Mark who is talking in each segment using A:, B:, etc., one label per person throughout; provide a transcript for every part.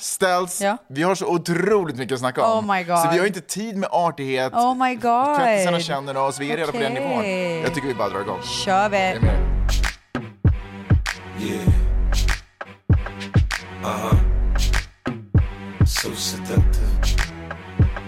A: Ställs.
B: Ja.
A: Vi har så otroligt mycket att snacka om.
B: Oh my God.
A: Så vi har inte tid med artighet.
B: Oh my god.
A: Tvättisarna känner oss. Vi är redan på den
B: Okej.
A: nivån. Jag tycker vi bara drar igång.
B: Kör
A: Jag
B: vi.
A: är med.
C: Yeah. Uh-huh. So seductive.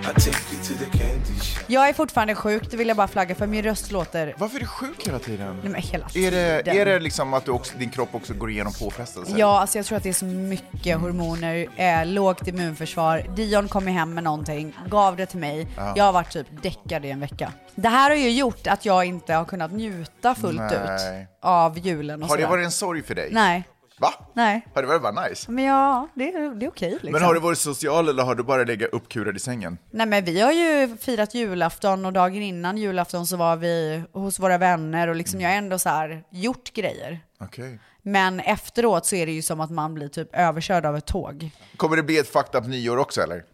C: I take you to the candy shop.
B: Jag är fortfarande sjuk, det vill jag bara flagga för. Min röst låter... Nej,
A: Varför är du sjuk hela tiden?
B: men hela
A: Är det,
B: tiden.
A: är det liksom att du också, din kropp också går igenom påfrestelser?
B: Ja, alltså jag tror att det är så mycket hormoner, eh, lågt immunförsvar. Dion kom ju hem med någonting, gav det till mig. Jag har varit typ däckad i en vecka. Det här har ju gjort att jag inte har kunnat njuta fullt
A: Nej.
B: ut av julen och
A: Har det
B: sådär.
A: varit en sorg för dig?
B: Nej,
A: Va?
B: nej.
A: Har det varit bara nice?
B: Men ja, det, är- det är okej liksom.
A: Men har du varit social eller har du bara legat uppkurad i sängen?
B: Nej men vi har ju firat julafton och dagen innan julafton så var vi hos våra vänner och liksom jag har ändå så här gjort grejer.
A: Okej.
B: Men efteråt så är det ju som att man blir typ överkörd av ett tåg.
A: Kommer det bli ett fucked up nyår också eller?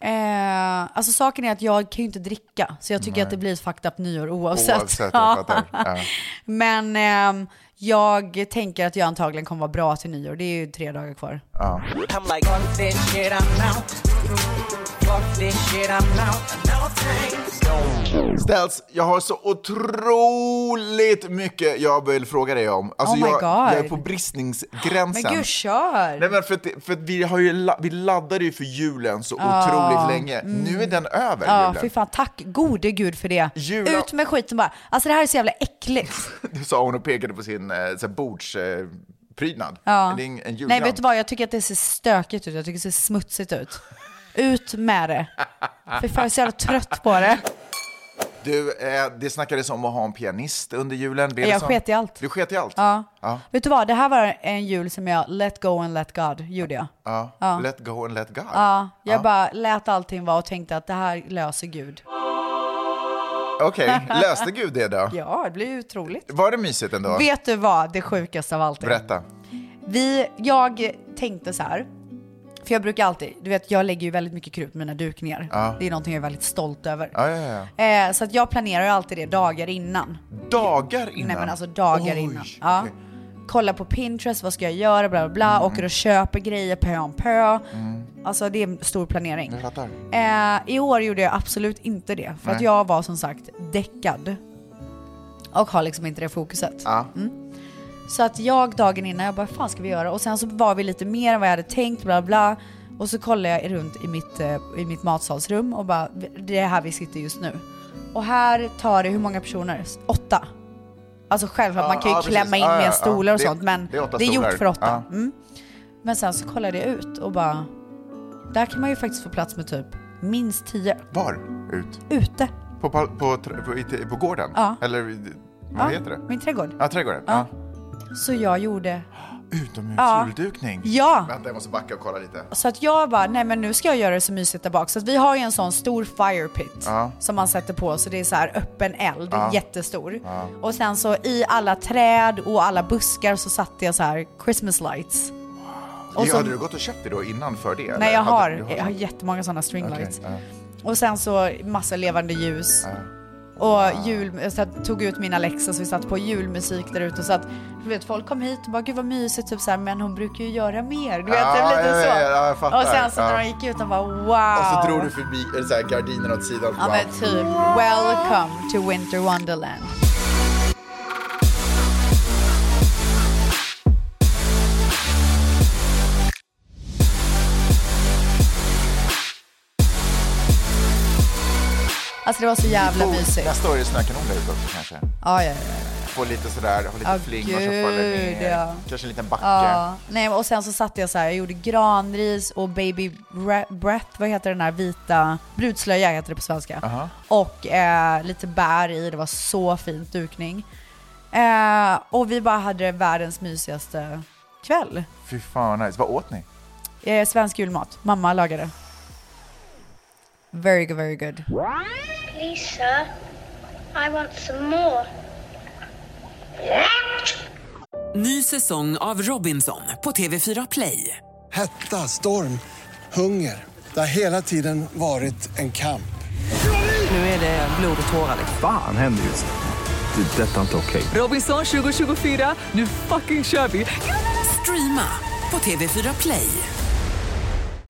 B: Eh, alltså saken är att jag kan ju inte dricka, så jag tycker att det blir ett fucked up nyår oavsett.
A: Oavsett, jag fattar. Ja.
B: Men ehm, jag tänker att jag antagligen kommer vara bra till nyår, det är ju tre dagar kvar.
D: I'm like, fuck this shit, I'm out. Fuck this shit, I'm out. No thanks.
A: Ställs, jag har så otroligt mycket jag vill fråga dig om. Alltså
B: Oh my
A: jag,
B: God.
A: jag är på bristningsgränsen.
B: Men gud kör!
A: Nej men för, att, det- för att vi, har ju, la- vi laddade ju för julen så otroligt länge. Nu är den över,
B: Ja,
A: julen.
B: Ah, mm. fy fan, tack gode gud för det.
A: Jula-
B: Ut med skiten bara. Alltså det här är så jävla äckligt.
A: Det sa hon och pekade på sin eh, så här, bordsprydnad. Det är en, en
B: Ah. Nej
A: julgran.
B: vet du vad, jag tycker att det ser stökigt ut, jag tycker det ser smutsigt ut. Ut med det. För fan, jag är så jävla trött på det.
A: Du, eh, det snackades om att ha en pianist under julen. Blev det
B: Jag
A: så?
B: sket i allt. Ah.
A: Du sket i allt? Ja.
B: Vet du vad, det här var en jul som jag let go and let God gjorde jag. Ah.
A: Let go and let God. Ja.
B: Jag bara lät allting vara och tänkte att det här löser Gud.
A: Okej, löste Gud det då?
B: Ja, det blir ju otroligt.
A: Var det mysigt ändå?
B: Vet du vad, det sjukaste av allt är?
A: Berätta.
B: Vi, jag tänkte så här, för jag brukar alltid, du vet jag lägger ju väldigt mycket krut på mina dukningar. Det är någonting jag är väldigt stolt över.
A: Ja, ja, ja.
B: Eh, så att jag planerar ju alltid det dagar innan.
A: Dagar innan?
B: Nej men alltså dagar
A: Oj,
B: innan. Ja.
A: okej.
B: Kolla på Pinterest, vad ska jag göra, bla bla bla.
A: Mm.
B: Åker och köper grejer pö om pö. Alltså det är en stor planering.
A: Jag fattar.
B: Eh, I år gjorde jag absolut inte det, för att jag var som sagt däckad. Och har liksom inte det fokuset.
A: Ja.
B: Så att jag dagen innan, jag bara, "Vad fan ska vi göra? Och sen så var vi lite mer än vad jag hade tänkt, bla bla. Och så kollade jag runt i mitt, eh, i mitt matsalsrum och bara, det är här vi sitter just nu. Och här tar det, hur många personer? S- Åtta. Alltså självklart,
A: Ja,
B: man kan ju
A: ja, precis.
B: klämma in
A: Ja, ja,
B: mer
A: ja.
B: stolar och
A: Det-
B: sånt, men
A: det är åtta
B: det är gjort
A: stolar.
B: för åtta. Mm. Men sen så kollade jag ut och bara, där kan man ju faktiskt få plats med typ minst tio
A: Var? Ut?
B: ute.
A: På, på, på, tr- på, i- på gården?
B: Ja.
A: Eller i- vad
B: Ja,
A: heter det?
B: Min trädgård.
A: Ja, trädgården. Ja.
B: Så jag gjorde,
A: Utomhusjuldukning.
B: ja!
A: Vänta, jag måste backa och kolla lite.
B: Så att jag bara, nej men nu ska jag göra det så mysigt där bak. Så att vi har ju en sån stor fire pit som man sätter på så det är så här öppen eld, jättestor. Och sen så i alla träd och alla buskar så satte jag så här Christmas lights. Och
A: Och
B: så,
A: Hade du gått och köpt det då innan för det? eller?
B: nej jag har,
A: Hade- du
B: jag har jättemånga såna string
A: Okej,
B: lights.
A: ja.
B: Och sen så massa levande ljus. Och jul, jag satt- tog ut min Alexa så vi satt på julmusik där ute. och Så att, du vet, folk kom hit och bara gud vad mysigt, typ så här, men hon brukar ju göra mer. Du vet,
A: Ja,
B: typ lite
A: ja,
B: så.
A: ja, ja, jag fattar.
B: och sen så när
A: Ja.
B: de gick ut, de bara wow.
A: Och så drog du förbi eller så här, gardinerna åt sidan.
B: Ja men typ, welcome to winter wonderland. Alltså det var så jävla
A: Oh,
B: mysigt. Ja,
A: Nästa år är det snökanoner ute också kanske.
B: ja, ja. ja.
A: Få lite sådär, ha lite
B: Ja,
A: flingor som
B: gud,
A: faller ner.
B: ja.
A: Kanske en liten backe.
B: ja. Nej, och sen så satte jag så här, jag gjorde granris och baby bra- breath, vad heter den här vita, brudslöja heter det på svenska. Och eh, lite bär i, det var så fint dukning. Eh, och vi bara hade världens mysigaste kväll.
A: Fy fan vad nice. Vad åt ni?
B: Eh, svensk julmat, mamma lagade. Very good, very good.
E: Lisa, I want some more.
F: Ny säsong av Robinson på TV4 Play.
G: Hetta, storm, hunger. Det har hela tiden varit en kamp.
F: Nu är det blod och tårar. liksom.
H: Fan händer just nu. Det. är Detta är inte okej.
F: Robinson 2024, nu fucking kör vi! Streama på TV4 Play.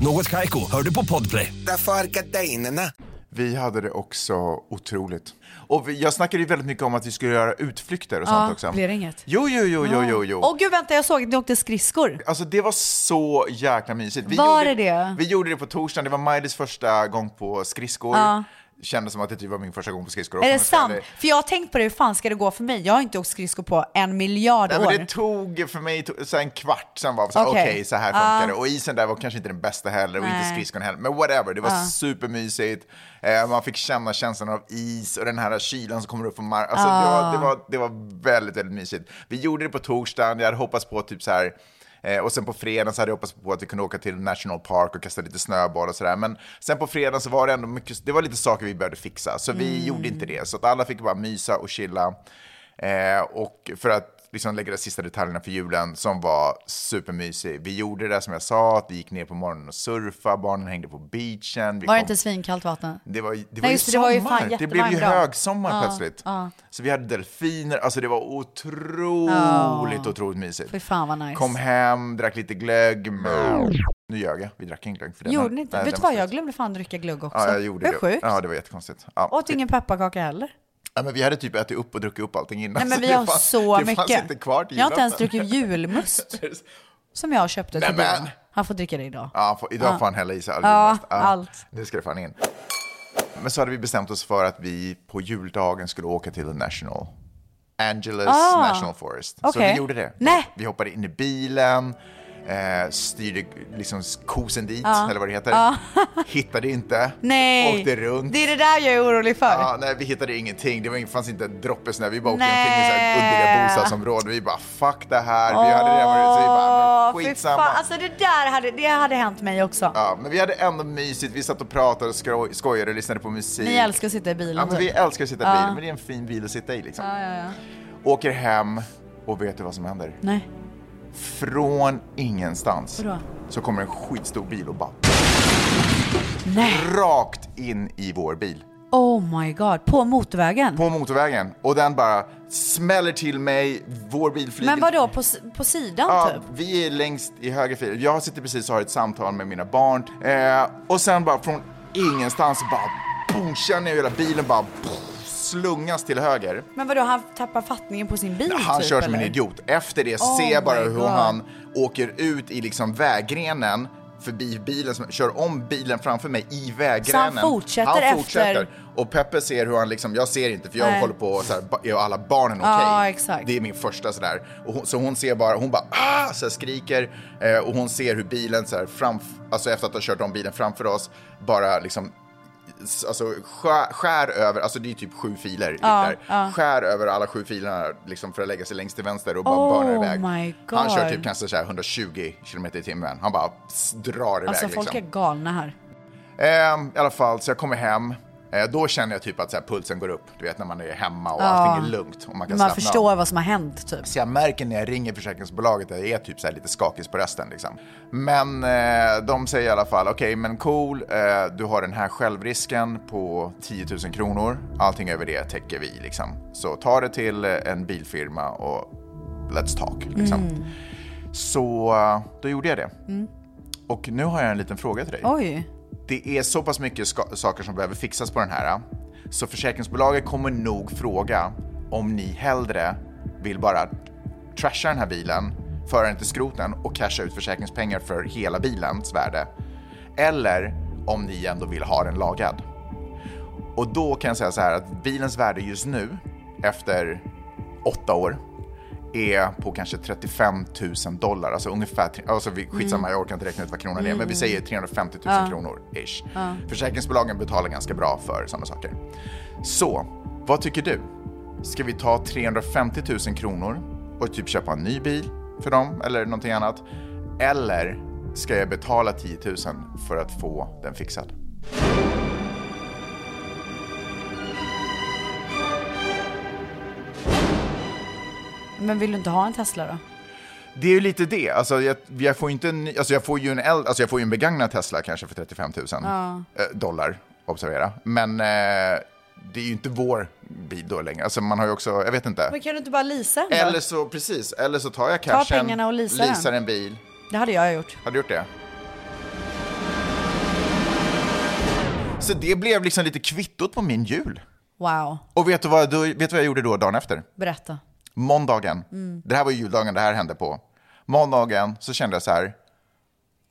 I: Något Kaiko, hör du på Podplay.
J: Därför är gardinerna.
A: Vi hade det också otroligt. Och vi, jag snackade ju väldigt mycket om att vi skulle göra utflykter och sånt också.
B: blir det inget?
A: Jo, jo, jo, jo, jo, jo.
B: Åh gud vänta, jag såg att ni åkte skridskor.
A: Alltså det var så jäkla mysigt. Vi
B: Var
A: gjorde,
B: det det?
A: Vi gjorde det på torsdagen, det var Majdis första gång på skridskor. Kändes som att det typ var min första gång på skridskor också,
B: Är det
A: men så här,
B: sant? För jag har tänkt på det, hur fan ska det gå för mig? Jag har inte åkt skridskor på en miljard
A: Nej,
B: år.
A: men det tog för mig to- så här en kvart, sen var det så här, okej,
B: Okej. Ah.
A: så här funkar det. Och isen där var kanske inte den bästa heller, och inte
B: Nej. Ah.
A: skridskon heller. Men whatever, det var supermysigt. Eh, man fick känna känslan av is och den här kylan som kommer upp från marken. Alltså, det,
B: Ah.
A: var, det, var, det var väldigt, väldigt mysigt. Vi gjorde det på torsdagen, jag hade hoppats på typ så här, eh, och sen på fredagen så hade jag hoppats på att vi kunde åka till National Park och kasta lite snöboll och sådär. Men sen på fredagen så var det ändå mycket, det var lite saker vi behövde fixa. Så vi
B: Mm.
A: gjorde inte det. Så att alla fick bara mysa och chilla. Eh, och för att liksom lägga de sista detaljerna för julen som var supermysig. Vi gjorde det där som jag sa, att vi gick ner på morgonen och surfa, barnen hängde på beachen. Vi
B: Var det
A: kom-
B: inte svinkallt vatten?
A: det var, ju- det var
B: Nej,
A: ju
B: just det, det
A: sommar.
B: var
A: Det,
B: ju fan
A: blev ju
B: jättevarmt bra.
A: högsommar plötsligt. Så vi hade delfiner, alltså det var otroligt, otroligt mysigt.
B: Fy fan vad nice.
A: Kom hem, drack lite glögg. men- Nu ljög jag, vi drack ingen glögg. För den
B: Gjorde
A: hade-
B: ni inte?
A: nej,
B: Vet
A: den
B: du vad,
A: var
B: jag
A: slut.
B: glömde fan dricka glögg också.
A: Ja, jag gjorde
B: är
A: det.
B: sjukt.
A: Ja, det var jättekonstigt. Ja.
B: Åt ingen pepparkaka heller.
A: ja, men vi hade typ ätit upp och druckit upp allting innan.
B: Nej men
A: så
B: vi
A: det
B: har
A: fanns-
B: så
A: Det
B: mycket.
A: fanns inte kvar till
B: jag har inte ens
A: julafton.
B: druckit julmust. som jag köpte till
A: Nämen.
B: Johan. Han får dricka det idag.
A: Ja, han får- idag får han hälla i sig all
B: Ja,
A: julmust.
B: allt.
A: Nu ska det fan in. Men så hade vi bestämt oss för att vi på juldagen skulle åka till the National. Angeles National Forest. Så
B: Ah. Okej.
A: vi gjorde det.
B: Nej.
A: Vi hoppade in i bilen, eh, styrde liksom kosen dit, eller vad det heter. Hittade inte.
B: Ah. Nej,
A: Åkte runt.
B: det är det där jag är orolig för.
A: Ja, nej, vi hittade ingenting. Det var, ing- fanns inte en droppe snö. Vi bara åkte
B: Nej.
A: omkring i så här underliga bostadsområden. Vi bara fuck det här. Vi hade redan varit så vi bara
B: Åh,
A: men
B: fy
A: skitsamma.
B: fan. Alltså det där hade, det hade hänt mig också.
A: Ja, men vi hade ändå mysigt. Vi satt och pratade och skro- skojade och lyssnade på musik.
B: Ni älskar att sitta i bilen
A: Ja, men vi
B: typ.
A: älskar att sitta i bilen, men det är en fin bil att sitta i liksom. Åker hem och vet du vad som händer?
B: Nej.
A: Från ingenstans
B: Vadå?
A: så kommer en skitstor bil och bara
B: Nej.
A: rakt in i vår bil.
B: Oh my god, på motorvägen.
A: På motorvägen. Och den bara smäller till mig, vår bil flyger.
B: men vadå, på, s- på sidan
A: Ja,
B: typ?
A: vi är längst i höger fil. Jag sitter precis och har ett samtal med mina barn. Eh, och sen bara från ingenstans så bara boom, känner jag hela bilen bara pff, slungas till höger.
B: Men vadå, han tappar fattningen på sin bil
A: Han
B: Mm, typ,
A: kör som en
B: eller?
A: idiot. Efter det
B: Oh
A: ser jag bara
B: my
A: hur
B: God.
A: han åker ut i liksom vägrenen förbi bilen, som, kör om bilen framför mig i vägrenen.
B: Så han fortsätter
A: Han
B: efter-
A: fortsätter. Och Peppe ser hur han liksom, jag ser inte för jag
B: Nej.
A: håller på så här, ba- är alla barnen okej?
B: Ja, exakt.
A: Det är min första sådär. Och hon, så hon ser bara, hon bara ah! så här skriker eh, och hon ser hur bilen så här framf, alltså efter att ha kört om bilen framför oss, bara liksom s- Alltså skär, skär över, alltså det är typ sju filer där. Skär över alla sju filerna liksom för att lägga sig längst till vänster och bara
B: Oh
A: börnar iväg.
B: my God.
A: Han kör typ kanske så här 120 km i timmen. Han bara s- drar iväg
B: Alltså
A: liksom.
B: folk är galna här.
A: Ehm, I alla fall, så jag kommer hem. Eh, då känner jag typ att så här, pulsen går upp. Du vet när man är hemma och allting är lugnt. Och man kan
B: Man
A: slappna av.
B: förstår vad som har hänt typ.
A: Så jag märker när jag ringer försäkringsbolaget att jag är typ så här lite skakig på rösten. Liksom. Men eh, de säger i alla fall, okej men cool, eh, du har den här självrisken på 10 000 kronor. Allting över det täcker vi liksom. Så ta det till eh, en bilfirma och let's talk. Liksom. Så eh, då gjorde jag det. Och nu har jag en liten fråga till dig
B: Oj.
A: det är så pass mycket ska- saker som behöver fixas på den här. äh. Så försäkringsbolaget kommer nog fråga om ni hellre vill bara trasha den här bilen, föra den till skroten och casha ut försäkringspengar för hela bilens värde. Eller om ni ändå vill ha den lagad. Och då kan jag säga så här att bilens värde just nu, efter åtta år, är på kanske 35 000 dollar, alltså ungefär, tre- alltså vi, skitsamma jag orkar inte räkna ut vad kronan är, men vi säger 350 000 kronor ish. Försäkringsbolagen betalar ganska bra för sådana saker. Så, vad tycker du? Ska vi ta 350 000 kronor och typ köpa en ny bil för dem eller någonting annat? Eller ska jag betala 10 000 för att få den fixad?
B: Men vill du inte ha en Tesla då?
A: Det är ju lite det. Alltså, jag, jag, får, ju inte en, ny- alltså, jag får ju en äldre, alltså, jag får ju en begagnad Tesla kanske för 35 000 eh, dollar, observera. Men eh, det är ju inte vår bil då längre. Alltså, man har ju också, jag vet inte.
B: Men kan du inte bara leasa en då?
A: Eller så, precis, eller så tar jag cashen,
B: pengarna och leasar den.
A: leasar en bil.
B: Det hade jag gjort.
A: Har du gjort det? Så det blev liksom lite kvittot på min jul.
B: Wow,
A: Och vet du vad, du, vet du vad jag gjorde då dagen efter?
B: berätta.
A: Måndagen, det här var ju juldagen det här hände på. Måndagen så kände jag så här,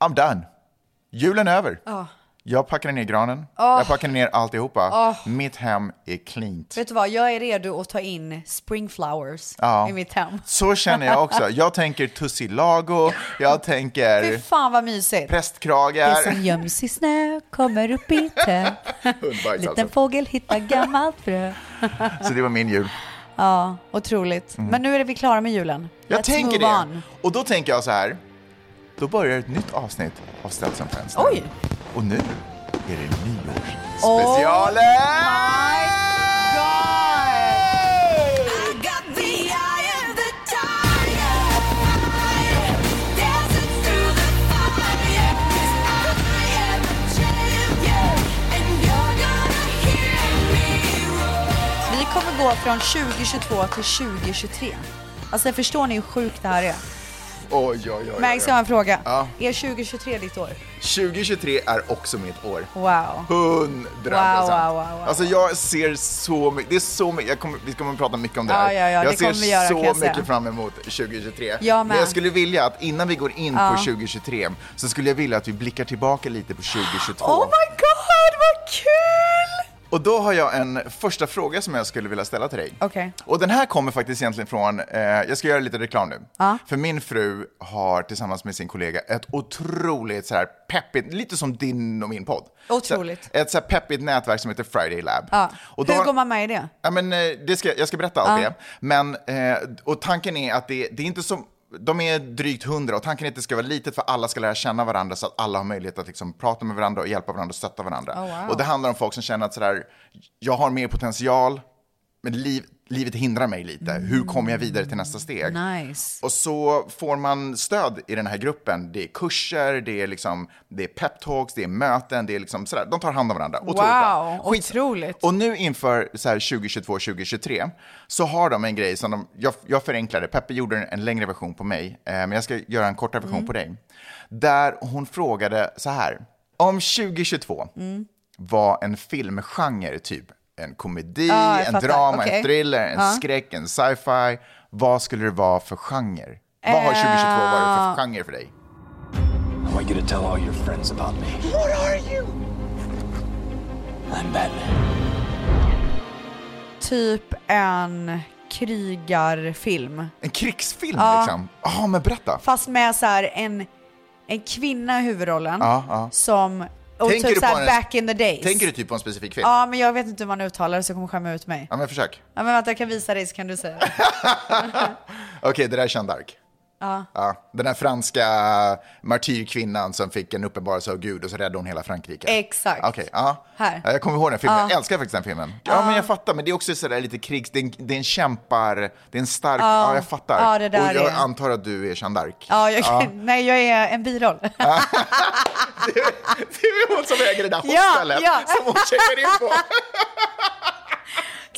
A: I'm done. Julen är över. Jag packade ner granen, jag packade ner alltihopa. Mitt hem är cleant.
B: Vet du vad, jag är redo att ta in spring flowers
A: Ja.
B: i mitt hem.
A: Så känner jag också. Jag tänker Tussilago, jag
B: Fy
A: tänker
B: fan vad mysigt.
A: prästkragar.
B: Det som göms i snö kommer upp i tö.
A: Hundbajs
B: Liten
A: alltså.
B: fågel hittar gammalt frö.
A: Så det var min jul.
B: Ja, otroligt. Men nu är vi klara med julen.
A: Mm. Jag
B: Let's
A: tänker
B: move
A: det.
B: on.
A: Och då tänker jag så här. Då börjar ett nytt avsnitt av Ställs and Friends.
B: Oj!
A: Och nu är det nyårsspecialen!
B: my
A: god!
B: Vi kommer gå från 2022 till 2023. Alltså förstår ni hur sjukt det här är?
A: Oj, oj, oj, oj.
B: Max, jag har en fråga.
A: Ja.
B: Är 2023 ditt år?
A: 2023 är också mitt år.
B: Wow.
A: 100
B: Wow, wow, wow, wow.
A: Alltså jag ser så mycket, det är så mycket, jag kommer, vi kommer att prata mycket om det här.
B: Ja, ja, ja,
A: jag
B: det
A: ser
B: kommer vi göra,
A: så
B: kan jag säga.
A: mycket fram emot 2023.
B: Jag
A: Men
B: med.
A: jag skulle vilja att innan vi går in på 2023 så skulle jag vilja att vi blickar tillbaka lite på 2022.
B: Oh my god, vad kul!
A: Och då har jag en första fråga som jag skulle vilja ställa till dig.
B: Okej.
A: Och den här kommer faktiskt egentligen från, eh, jag ska göra lite reklam nu. För min fru har tillsammans med sin kollega ett otroligt så här peppigt, lite som din och min podd.
B: Otroligt.
A: Så, ett så här peppigt nätverk som heter Friday Lab.
B: Ja.
A: Och då
B: Hur
A: har-
B: går man med i det?
A: Ja, men, eh, det ska, jag ska berätta allt det. Men, eh, och tanken är att det, det är inte som... De är drygt hundra och tanken är att det ska vara litet för alla ska lära känna varandra så att alla har möjlighet att liksom prata med varandra och hjälpa varandra och stötta varandra.
B: wow.
A: Och det handlar om folk som känner att sådär, jag har mer potential, men liv, livet hindrar mig lite. Hur kommer jag vidare till nästa steg?
B: Nice.
A: Och så får man stöd i den här gruppen. Det är kurser, det är, liksom, det är peptalks, det är möten, det är liksom sådär. De tar hand om varandra. Otroligt bra.
B: Wow, otroligt.
A: Och nu inför så här 2022, 2023 så har de en grej som de, jag, jag förenklade, Peppe gjorde en, en längre version på mig, eh, men jag ska göra en kortare
B: Mm.
A: version på dig. Där hon frågade så här, om 2022
B: Mm.
A: var en filmgenre typ en komedi,
B: Ja, jag
A: en
B: fattar.
A: drama,
B: Okej.
A: en thriller, en skräck, en sci-fi, vad skulle det vara för genre? Vad
B: Eh.
A: har 2022 varit för genre för dig?
I: I want you to tell all your friends about me.
D: What are you?
I: I'm Batman.
B: Typ en krigarfilm.
A: En krigsfilm liksom? Ja, men berätta.
B: Fast med så här en, en kvinna i huvudrollen som... Och
A: Tänker
B: typ
A: du
B: så
A: på
B: här
A: en-
B: back in the days.
A: Tänker du typ på en specifik film?
B: Ja, men jag vet inte hur man uttalar det så jag kommer skämma ut mig.
A: Ja, men försök.
B: Ja, men vänta, jag kan visa dig så kan du säga.
A: Okej, det där är Jeanne d'Arc. Ja, den här franska martyrkvinnan som fick en uppenbarelse av Gud och så räddade hon hela Frankrike.
B: Exakt.
A: Okej, ja.
B: Här.
A: Ja, Jag kommer ihåg den filmen, jag älskar faktiskt den filmen. Ja, men jag fattar, men det är också sådär lite krigs... Det är en, det är en kämpar, det är en stark... Ja, jag fattar.
B: Ja, det där
A: och jag
B: är-
A: antar att du är Jeanne d'Arc.
B: Ja, jag, Nej, jag är en biroll.
A: Det är hon som äger det där
B: Ja,
A: hostellet
B: ja.
A: som hon checkar in på.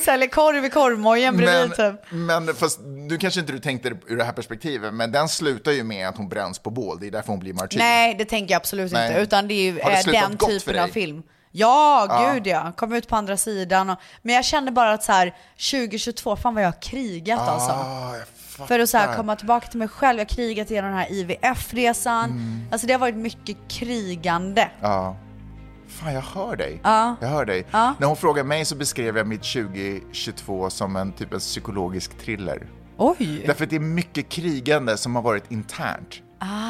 B: Säljer korv i korvmojen bredvid
A: Men,
B: typ.
A: men fast, nu kanske inte du tänkte det ur det här perspektivet, men den slutar ju med att hon bränns på bål. Det är därför hon blir martyr.
B: Nej, det tänker jag absolut
A: Typ. Nej.
B: inte. Utan det är ju
A: Har det
B: eh,
A: slutat
B: den
A: gott för
B: typen
A: dig?
B: av film. Ja, gud ja. Kom ut på andra sidan. Och, men jag kände bara att så här, 2022, fan vad jag har krigat alltså.
A: Ah, jag fattar.
B: För att så här, komma tillbaka till mig själv. Jag har krigat igenom den här IVF-resan. Alltså det har varit mycket krigande.
A: Mm. Ja. Fan, jag hör dig. Jag hör dig. När hon frågade mig så beskrev jag mitt 2022 som en typ en psykologisk thriller.
B: Oj!
A: Därför att det är mycket krigande som har varit internt.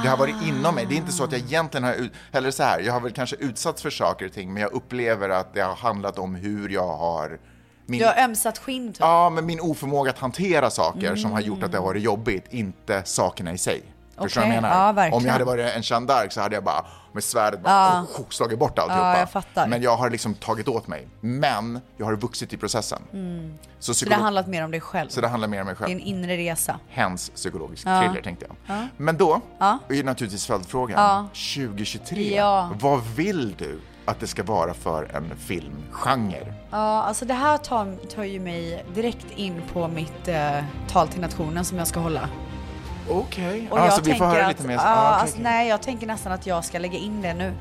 A: Det har varit inom mig. Det är inte så att jag egentligen har, ut- eller så här, jag har väl kanske utsatts för saker och ting, men jag upplever att det har handlat om hur jag har min,
B: Du har ömsat skinn typ.
A: ja, men min oförmåga att hantera saker som har gjort att det har varit jobbigt, inte sakerna i sig. Förstår du vad jag
B: Okej,
A: menar?
B: ja, verkligen.
A: Om jag hade varit en Jeanne d'Arc så hade jag bara med svärdet bara, oh, slagit bort alltihopa.
B: jag fattar.
A: Men jag har liksom tagit åt mig. Men jag har vuxit i processen. Så,
B: Mm. Så det
A: psykolo-
B: har handlat mer om dig själv.
A: så det handlar mer om mig själv
B: Din inre resa.
A: hens psykologisk thriller tänkte jag. Men då är ju naturligtvis följdfrågan, 2023,
B: Ja.
A: vad vill du att det ska vara för en filmgenre?
B: Ja, alltså det här tar, tar ju mig direkt in på mitt eh, tal till nationen som jag ska hålla.
A: Okej,
B: Och
A: alltså
B: jag
A: vi får höra
B: tänker
A: lite
B: att-
A: mer.
B: Ja,
A: Ah, okej,
B: alltså,
A: okej.
B: Nej, jag tänker nästan att jag ska lägga in det nu.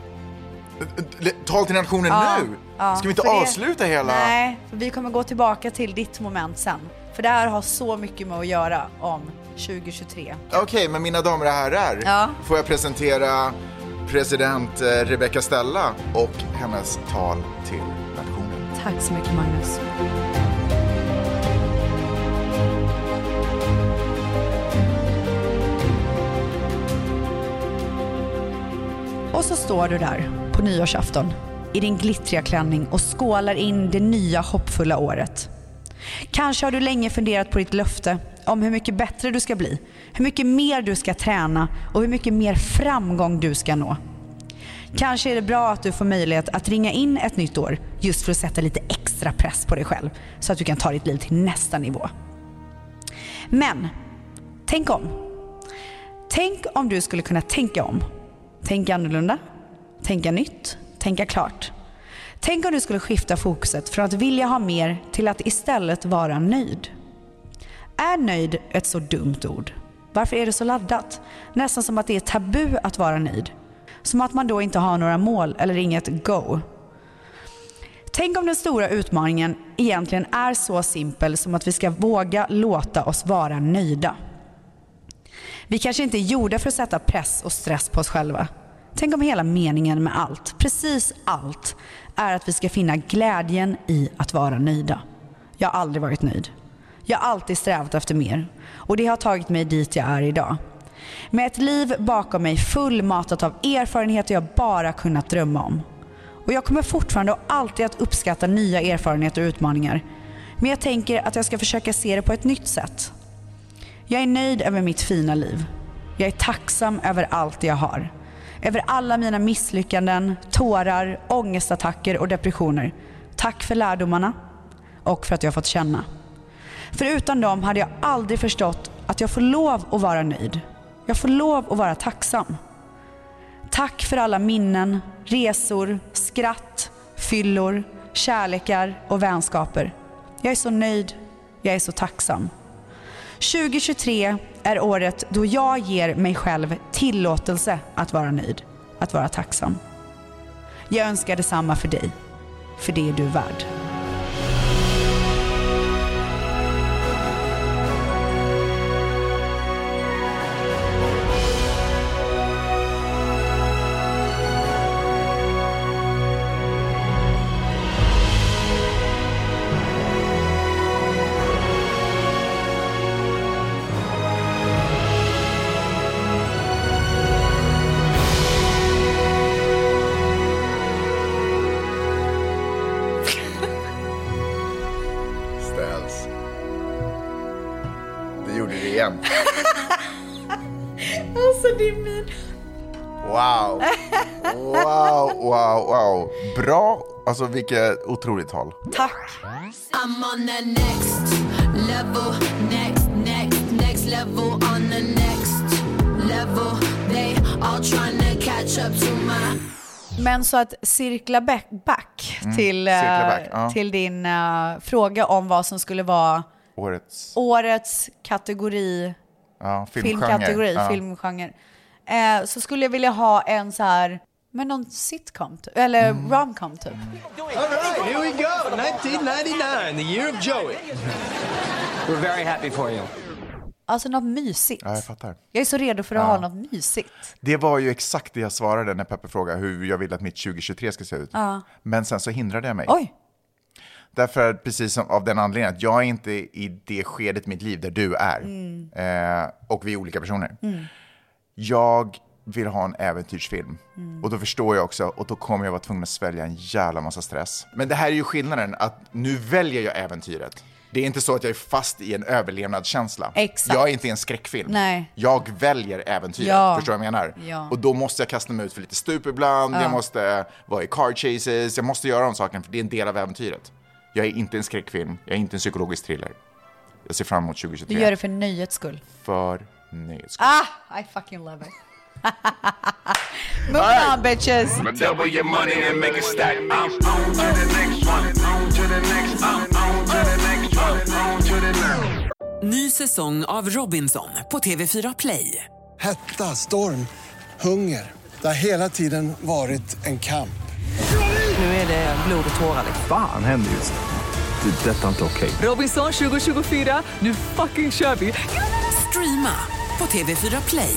A: Le- Tal till nationen nu!
B: Ja,
A: ska vi inte
B: för det-
A: avsluta hela...
B: Nej, för vi kommer gå tillbaka till ditt moment sen. För det här har så mycket med att göra om 2023.
A: Okej, men mina damer och herrar,
B: Ja.
A: får jag presentera president eh, Rebecca Stella och hennes tal till nationen.
B: Tack så mycket Magnus. Och så står du där på nyårsafton i din glittriga klänning och skålar in det nya hoppfulla året. Kanske har du länge funderat på ditt löfte om hur mycket bättre du ska bli, hur mycket mer du ska träna och hur mycket mer framgång du ska nå. Kanske är det bra att du får möjlighet att ringa in ett nytt år just för att sätta lite extra press på dig själv så att du kan ta ditt liv till nästa nivå. Men, tänk om. Tänk om du skulle kunna tänka om. Tänka annorlunda, tänka nytt, tänka klart. Tänk om du skulle skifta fokuset från att vilja ha mer till att istället vara nöjd. Är nöjd ett så dumt ord? Varför är det så laddat? Nästan som att det är tabu att vara nöjd. Som att man då inte har några mål eller inget go. Tänk om den stora utmaningen egentligen är så simpel som att vi ska våga låta oss vara nöjda. Vi kanske inte är gjorda för att sätta press och stress på oss själva. Tänk om hela meningen med allt, precis allt, är att vi ska finna glädjen i att vara nöjda. Jag har aldrig varit nöjd. Jag har alltid strävat efter mer och det har tagit mig dit jag är idag. Med ett liv bakom mig fullmatat av erfarenheter jag bara kunnat drömma om. Och jag kommer fortfarande och alltid att uppskatta nya erfarenheter och utmaningar. Men jag tänker att jag ska försöka se det på ett nytt sätt. Jag är nöjd över mitt fina liv. Jag är tacksam över allt jag har. Över alla mina misslyckanden, tårar, ångestattacker och depressioner. Tack för lärdomarna och för att jag har fått känna. För utan dem hade jag aldrig förstått att jag får lov att vara nöjd. Jag får lov att vara tacksam. Tack för alla minnen, resor, skratt, fyllor, kärlekar och vänskaper. Jag är så nöjd. Jag är så tacksam. 2023 är året då jag ger mig själv tillåtelse att vara nöjd, att vara tacksam. Jag önskar detsamma för dig, för det är du värd.
A: Ställs. Du gjorde det igen.
B: Alltså det är min...
A: Wow, wow, wow, wow. Bra, alltså vilket otroligt tal.
B: Tack!
D: I'm on the next level, next, next, next level, on the next level. They all trying to catch up to my.
B: Men så att cirkla back, back till, eh,
A: Mm, cirkla back, ja.
B: till din eh, fråga om vad som skulle vara
A: Årets
B: årets kategori
A: ja, filmgenre.
B: filmkategori,
A: ja.
B: filmgenre. Eh, så skulle jag vilja ha en så här, men någon sitcom typ, eller
A: Mm.
B: romcom typ.
I: Here we go, 1999, the year of Joey. We're very happy for you.
B: Alltså något mysigt.
A: Ja, jag fattar.
B: Jag är så redo för att ha något mysigt.
A: Det var ju exakt det jag svarade när Peppe frågade hur jag ville att mitt 2023 ska se ut. Men sen så hindrade jag mig.
B: Oj,
A: Därför att precis som, av den anledningen att jag är inte i det skedet i mitt liv där du är.
B: Mm.
A: Eh, och vi är olika personer. Jag vill ha en äventyrsfilm.
B: Mm.
A: Och då förstår jag också, och då kommer jag vara tvungen att svälja en jävla massa stress. Men det här är ju skillnaden, att nu väljer jag äventyret. Det är inte så att jag är fast i en överlevnadskänsla.
B: Exakt.
A: Jag är inte i en skräckfilm.
B: Nej.
A: Jag väljer äventyret,
B: Ja.
A: förstår du vad jag menar?
B: Ja.
A: Och då måste jag kasta mig ut för lite stup ibland, jag måste vara i car chases, jag måste göra de sakerna för det är en del av äventyret. Jag är inte en skräckfilm, jag är inte en psykologisk thriller. Jag ser fram emot
B: Du
A: 2023.
B: gör det för nöjets skull.
A: För nöjes skull.
B: Ah, I fucking love it. Move on bitches!
C: Double your money and make it stack. I'm on to the next one. On to the next. I'm on to the next one. On to the next.
F: Ny säsong av Robinson på TV4 Play.
G: Hetta, storm, hunger. Det har hela tiden varit en kamp.
F: Nu är det blod och tårar. liksom.
H: Fan händer just det. Det är detta inte okej.
F: Robinson 2024, nu fucking kör vi! Streama på TV4 Play.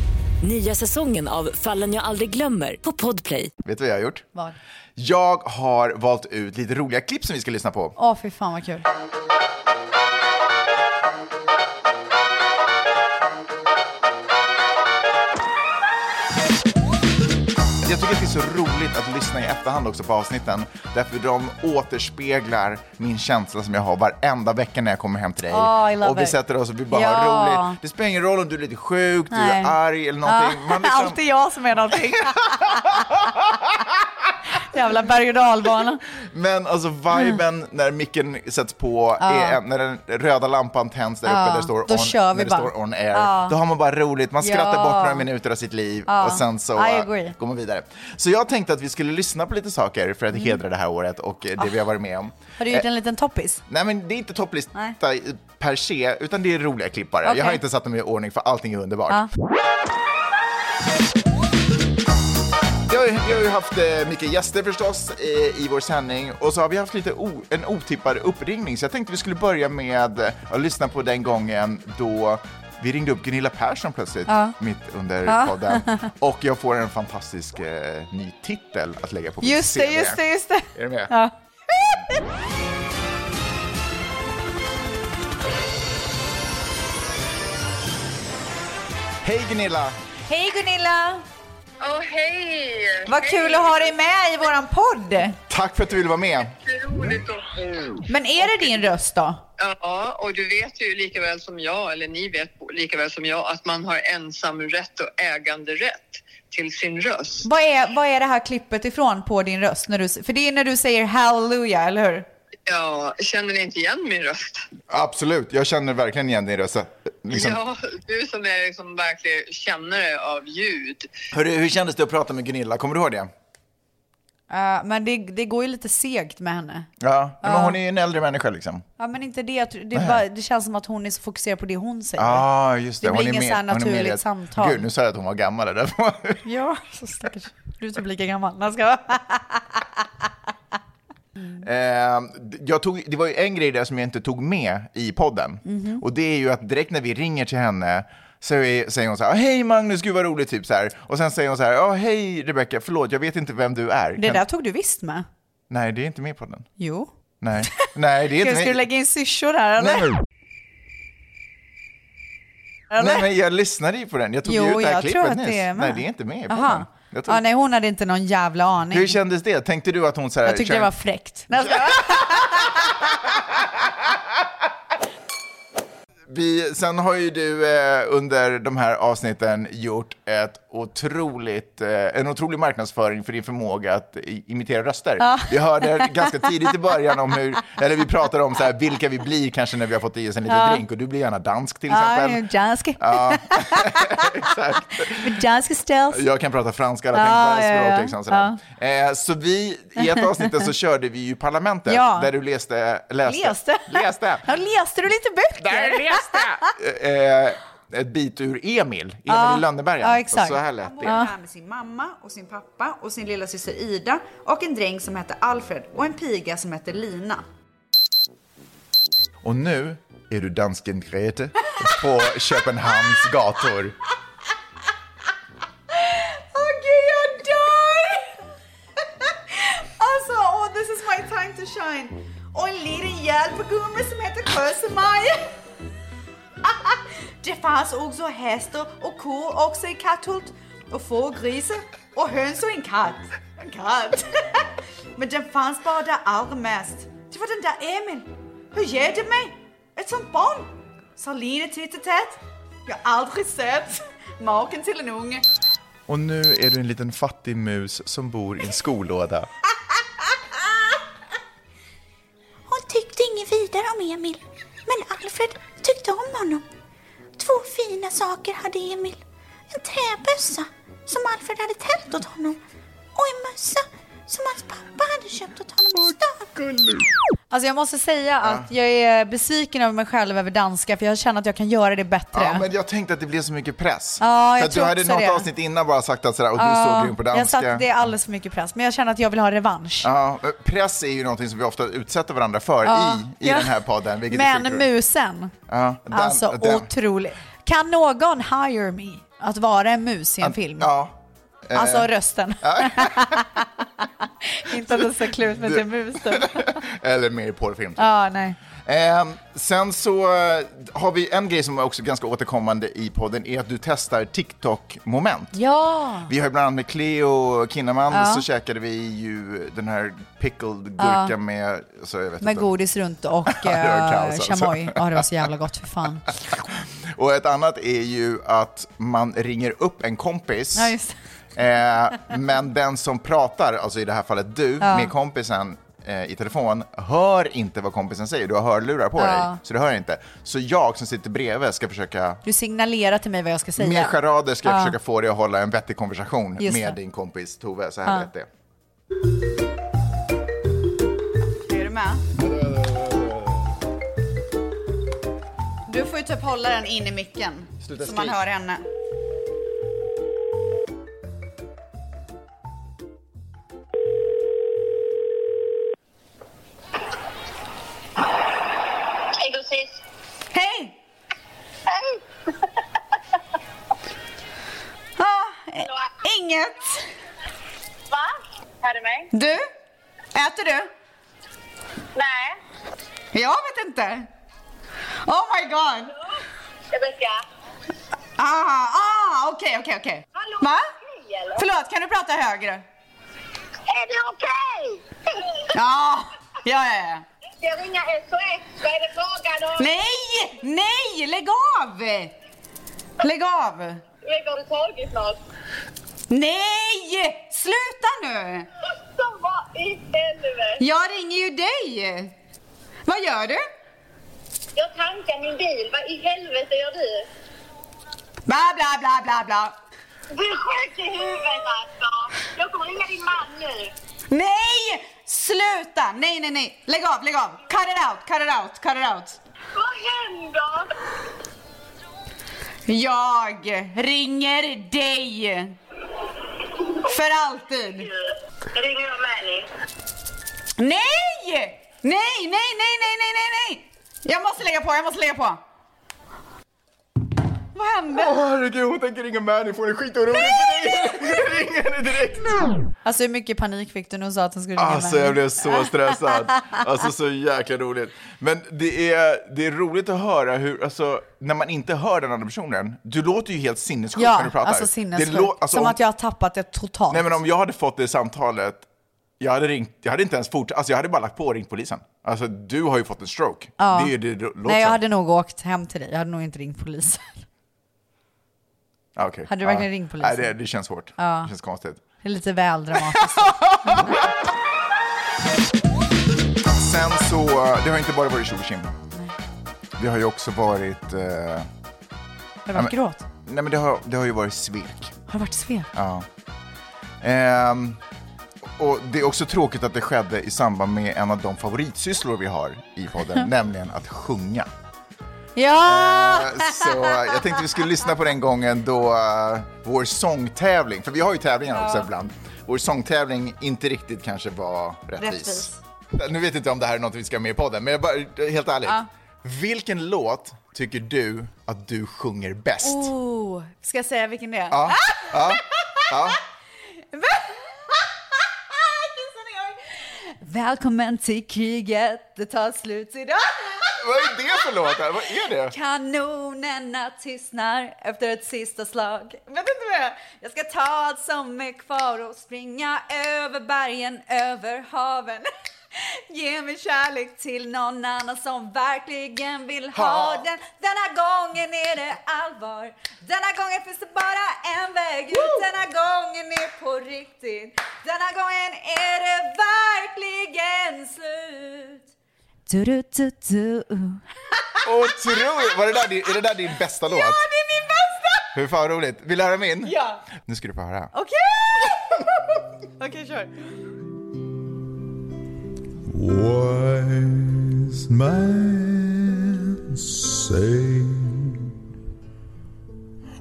E: Nya säsongen av Fallen jag aldrig glömmer på Podplay.
A: Vet du vad jag har gjort?
B: Vad?
A: Jag har valt ut lite roliga klipp som vi ska lyssna på.
B: Åh fy fan vad kul.
A: Jag tycker att det är så roligt att lyssna i efterhand också på avsnitten. Därför de återspeglar min känsla som jag har varenda vecka när jag kommer hem till dig.
B: Oh, I love
A: och vi
B: it.
A: sätter oss och vi bara
B: Ja.
A: har roligt. Det spelar ingen roll om du är lite sjuk, du
B: Nej.
A: är arg eller någonting.
B: Ah,
A: Man liksom-
B: Alltid jag som är någonting. Jävla berg och dalbana.
A: Men alltså viben när micken sätts på, är, en- när den röda lampan tänds där uppe
B: Ja,
A: där det står
B: Ah. då
A: on,
B: kör vi
A: när det
B: bara.
A: står on air,
B: Ja.
A: då har man bara roligt, man skrattar
B: Ja.
A: bort några minuter av sitt liv
B: Ja,
A: och sen så
B: I
A: eh,
B: agree.
A: går man vidare. Så jag tänkte att vi skulle lyssna på lite saker för att hedra det här året och eh, det vi har varit med om.
B: Har du
A: Eh,
B: gjort en liten toppis?
A: Nej men det är inte topplista
B: Nej.
A: per se, utan det är roliga klipp bara.
B: Okej.
A: Jag har inte satt dem i ordning för allting är underbart.
B: Ja.
A: Jag, har ju- jag har ju haft eh, mycket gäster förstås eh, i, i vår sändning och så har vi haft lite o, en otippad uppringning så jag tänkte vi skulle börja med eh, att lyssna på den gången då vi ringde upp Gunilla Persson plötsligt mitt under podden och jag får en fantastisk eh, ny titel att lägga på mitt
B: Just det,
A: CV.
B: just det, just det.
A: Är du med?
B: Ja.
A: Hej Gunilla!
B: Hej Gunilla!
K: Åh, hej!
B: Vad kul att ha dig med i våran podd.
A: Tack för att du ville vara med.
K: Roligt att höra.
B: Men är det din röst då?
K: Ja, och du vet ju lika väl som jag, eller ni vet lika väl som jag, att man har ensamrätt och äganderätt till sin röst.
B: Vad är, vad är det här klippet ifrån på din röst? När du, för det är när du säger halleluja, eller hur?
K: Ja, känner ni inte igen min röst?
A: Absolut, jag känner verkligen igen din röst. Liksom.
K: Ja, du som är liksom verkligen kännare av ljud.
A: Hörru, hur kändes det att prata med Gunilla? Kommer du ihåg det?
B: Eh, men det, det går ju lite segt med henne.
A: Ja, men
B: Ja.
A: hon är ju en äldre människa liksom.
B: Ja men inte det, Jag tror- det, är
A: Nej.
B: bara, det känns som att hon är så fokuserad på det hon säger.
A: Ja, ah, just det.
B: Det blir
A: hon är
B: inget
A: mer-
B: så här
A: hon är mer
B: naturligt
A: i ett-
B: samtal.
A: Gud, nu sa jag att hon var gammal. det Där.
B: Ja, så stackars. Du är typ lika gammal. Nej, jag skojar.
A: Eh, jag tog, det var ju en grej där som jag inte tog med i podden.
B: Mhm.
A: Och det är ju att direkt när vi ringer till henne så är, säger hon så här, "Ah, hej Magnus, gud vad roligt, typ så här. Och sen säger hon så här, ja hej Rebecca, förlåt, jag vet inte vem du är.
B: Det
A: Kan-
B: där tog du visst med.
A: Nej, det är inte med i podden.
B: Jo.
A: Nej, Nej det är
B: Gud,
A: inte
B: ska du
A: med.
B: lägga in syrsor här eller?
A: Nej.
B: eller?
A: Nej, men jag lyssnade ju på den. Jag tog ju ut det här
B: jag
A: klippet
B: tror att
A: nyss.
B: det är med.
A: Nej, det är inte med i podden.
B: Jaha.
A: Jag tog-
B: Ja, nej, hon hade inte någon jävla aning.
A: Hur kändes det? Tänkte du att hon så här,
B: jag tyckte
A: kör-
B: det var fräckt. Nej, jag skojar.
A: Vi, sen har ju du eh, under de här avsnitten gjort ett otroligt, eh, en otrolig marknadsföring för din förmåga att i- imitera röster.
L: Ja.
A: Vi hörde ganska tidigt i början om hur, eller vi pratade om så här, vilka vi blir kanske när vi har fått i oss en liten
L: Ja.
A: drink och du blir gärna dansk till
L: Ja,
A: exempel.
L: jag är dansk.
A: Ja,
L: Med danska ställs.
A: jag kan prata franska, alla
L: Ja,
A: tänkbara
L: ja,
A: språk.
L: ja.
A: Liksom, sådär. Eh, så vi, i ett avsnitt så körde vi ju Parlamentet,
L: Ja.
A: där du läste, läste,
L: Läste.
A: läste.
L: Ja, läste du lite böcker?
A: Där läste eh, ett bit ur Emil, Emil
B: Ja.
A: i Lönneberga.
B: Ja,
A: Och så här lät
B: Han
A: det.
B: bodde här med sin mamma och sin pappa och sin lilla syster Ida och en dräng som hette Alfred och en piga som hette Lina.
A: Och nu är du dansken Grete på Köpenhamns gator.
B: Åh gud, jag dör! alltså, oh, this is my time to shine. Och en liten hjälp på gummi som heter Kösemaj. det fanns också hästar och kor också i Katthult. Och få grisar och höns och en katt. En katt. Men den fanns bara där allra mest. Det var den där Emil. Hur ger du mig? Ett sånt barn? Sa Line titt i tätt. Jag har aldrig sett maken till en unge.
A: Och nu är du en liten fattig mus som bor i en skolåda.
M: Hon tyckte inget vidare om Emil, men Alfred tyckte om honom. Två fina saker hade Emil. En träbössa som Alfred hade tält åt honom och en mössa som hans pappa hade köpt åt honom i stan.
L: Alltså jag måste säga att jag är besviken över mig själv över danska för jag känner att jag kan göra det bättre.
A: Ja, men jag tänkte att det blev så mycket press.
L: Ja, jag
A: För att du
L: tror
A: hade
L: också
A: något
L: det.
A: avsnitt innan bara sagt att sådär, och du
L: Ja,
A: såg grym på
L: Jag
A: danska.
L: satt, det är alldeles för mycket press, men jag känner att jag vill ha revansch.
A: Ja, men press är ju någonting som vi ofta utsätter varandra för
L: Ja.
A: i, i
L: Ja.
A: den här podden. Vilket är
L: Men
A: sjukt.
L: musen,
A: Ja, den-
L: alltså
A: den-
L: otroligt. Kan någon hire me att vara en mus i en film?
A: Ja. Eh,
L: Alltså rösten. Inte att det ser klurigt ut med det musen.
A: Eller mer i porrfilm.
L: Ja, nej.
A: Eh, sen så eh, har vi en grej som är också ganska återkommande i podden är att du testar TikTok-moment.
L: Ja.
A: Vi har ju bland annat med Cleo Kinnaman
L: Ja.
A: så käkade vi ju den här pickled gurka
L: Ja.
A: med, så jag vet
L: Med
A: inte.
L: godis runt och
A: Ja, det var
L: eh,
A: kaos alltså.
L: chamoy. Ja, det var så jävla gott för fan.
A: Och ett annat är ju att man ringer upp en kompis.
L: Ja, just det.
A: Eh, men den som pratar, alltså i det här fallet du,
L: Ja.
A: med kompisen eh, i telefon, hör inte vad kompisen säger. Du har hörlurar på
L: Ja.
A: dig, så du hör inte. Så jag som sitter bredvid ska försöka
L: Du signalerar till mig vad jag ska säga.
A: Med charader ska jag
L: Ja.
A: försöka få dig att hålla en vettig konversation
L: Just
A: med
L: det.
A: din kompis Tove. Så här
L: Ja.
A: lät det.
B: Är du med? Du får ju typ hålla den in i micken.
A: Sluta
B: så man
A: skrik.
B: hör henne.
N: Hej gossis!
B: Hej!
N: Hej!
B: Ah, eh, inget.
N: Va? Hör du mig?
B: Du? Äter du?
N: Nej.
B: Jag vet inte. Oh my god.
N: Rebecka?
B: Ah, ah, okej, okej, okej.
N: Hallå,
B: Va?
N: okej, eller?
B: Förlåt, kan du prata högre?
N: Är det okej?
B: Ja, ja, ja. ja.
N: Ska jag ringa SOS? Vad är det frågan om?
B: Nej, nej, lägg av! Lägg av!
N: Vet du, Har du tagit något?
B: Nej, sluta nu!
N: Vad i helvete?
B: Jag ringer ju dig! Vad gör du?
N: Jag tankar min bil. Vad i helvete gör du?
B: Bla, bla, bla, bla, bla.
N: Du är sjuk i huvudet alltså! Jag kommer ringa din man nu.
B: Nej! Sluta! Nej, nej, nej. Lägg av, lägg av. Cut it out, cut it out, cut it out.
N: Vad händer?
B: Jag ringer dig. För alltid.
N: Ringer jag Mani?
B: Nej! Nej, nej, nej, nej, nej, nej, nej. Jag måste lägga på, jag måste lägga på. Vad hände?
A: Åh herregud, hon tänker ringa Mani, får det skitorolig för dig. Ringer henne direkt.
L: Alltså hur mycket panik fick du när hon sa att hon skulle ringa
A: Alltså
L: mig?
A: jag blev så stressad. Alltså så jäkla roligt. Men det är, det är roligt att höra hur, alltså när man inte hör den andra personen, du låter ju helt sinnessjuk
L: Ja,
A: när du pratar.
L: alltså
A: Det lå-
L: sinnessjukt.
A: alltså,
L: Som
A: om-
L: att jag har tappat det totalt.
A: Nej men om jag hade fått det samtalet, jag hade, ringt, jag hade inte ens fortsatt, alltså jag hade bara lagt på och ringt polisen. Alltså du har ju fått en stroke.
L: Ja.
A: Det är ju det det låter
L: Nej, jag
A: som.
L: hade nog åkt hem till dig. Jag hade nog inte ringt polisen.
A: Ah, okej.
O: Hade du verkligen
A: Ah.
O: ringt polisen?
A: Nej, det, det känns hårt.
O: Ja.
A: Det känns konstigt.
O: Det är lite väl dramatiskt.
A: Sen så, det har inte bara varit tjo och tjim. Det har ju också varit... Eh, har
O: det varit gråt?
A: Nej, men det har, det har ju varit svek.
O: Har det varit svek?
A: Ja. Ehm, och det är också tråkigt att det skedde i samband med en av de favoritsysslor vi har i podden, nämligen att sjunga.
O: Ja!
A: Så eh, jag tänkte vi skulle lyssna på den gången då eh, vår sångtävling, för vi har ju tävlingar också
O: Ja.
A: ibland, vår sångtävling inte riktigt kanske var rättvis.
O: Rättvis.
A: Nu vet inte om det här är något vi ska ha med i podden, men jag bara, helt ärligt.
O: Ja.
A: Vilken låt tycker du att du sjunger bäst?
O: Oh,
B: Ska jag säga vilken det är?
A: Ja, ja, ja.
B: Välkommen till kriget, det tar slut idag.
A: Vad är det för låt? Vad är det?
B: Kanonerna tystnar efter ett sista slag. Vet du inte vad det är? Jag ska ta allt som är kvar och springa över bergen, över haven. Ge min kärlek till någon annan som verkligen vill ha
O: Ha.
B: den. Denna gången är det allvar. Denna gången finns det bara en väg ut. Denna gången är på riktigt. Denna gången är det verkligen slut.
O: Du, du, du, du.
A: Otroligt! Var det där, din- är det där din bästa låt?
B: Ja, det är min bästa!
A: Hur fan roligt! Vill du höra min?
B: Ja.
A: Nu ska du få höra.
B: Okej! Okej, kör.
P: Wise man say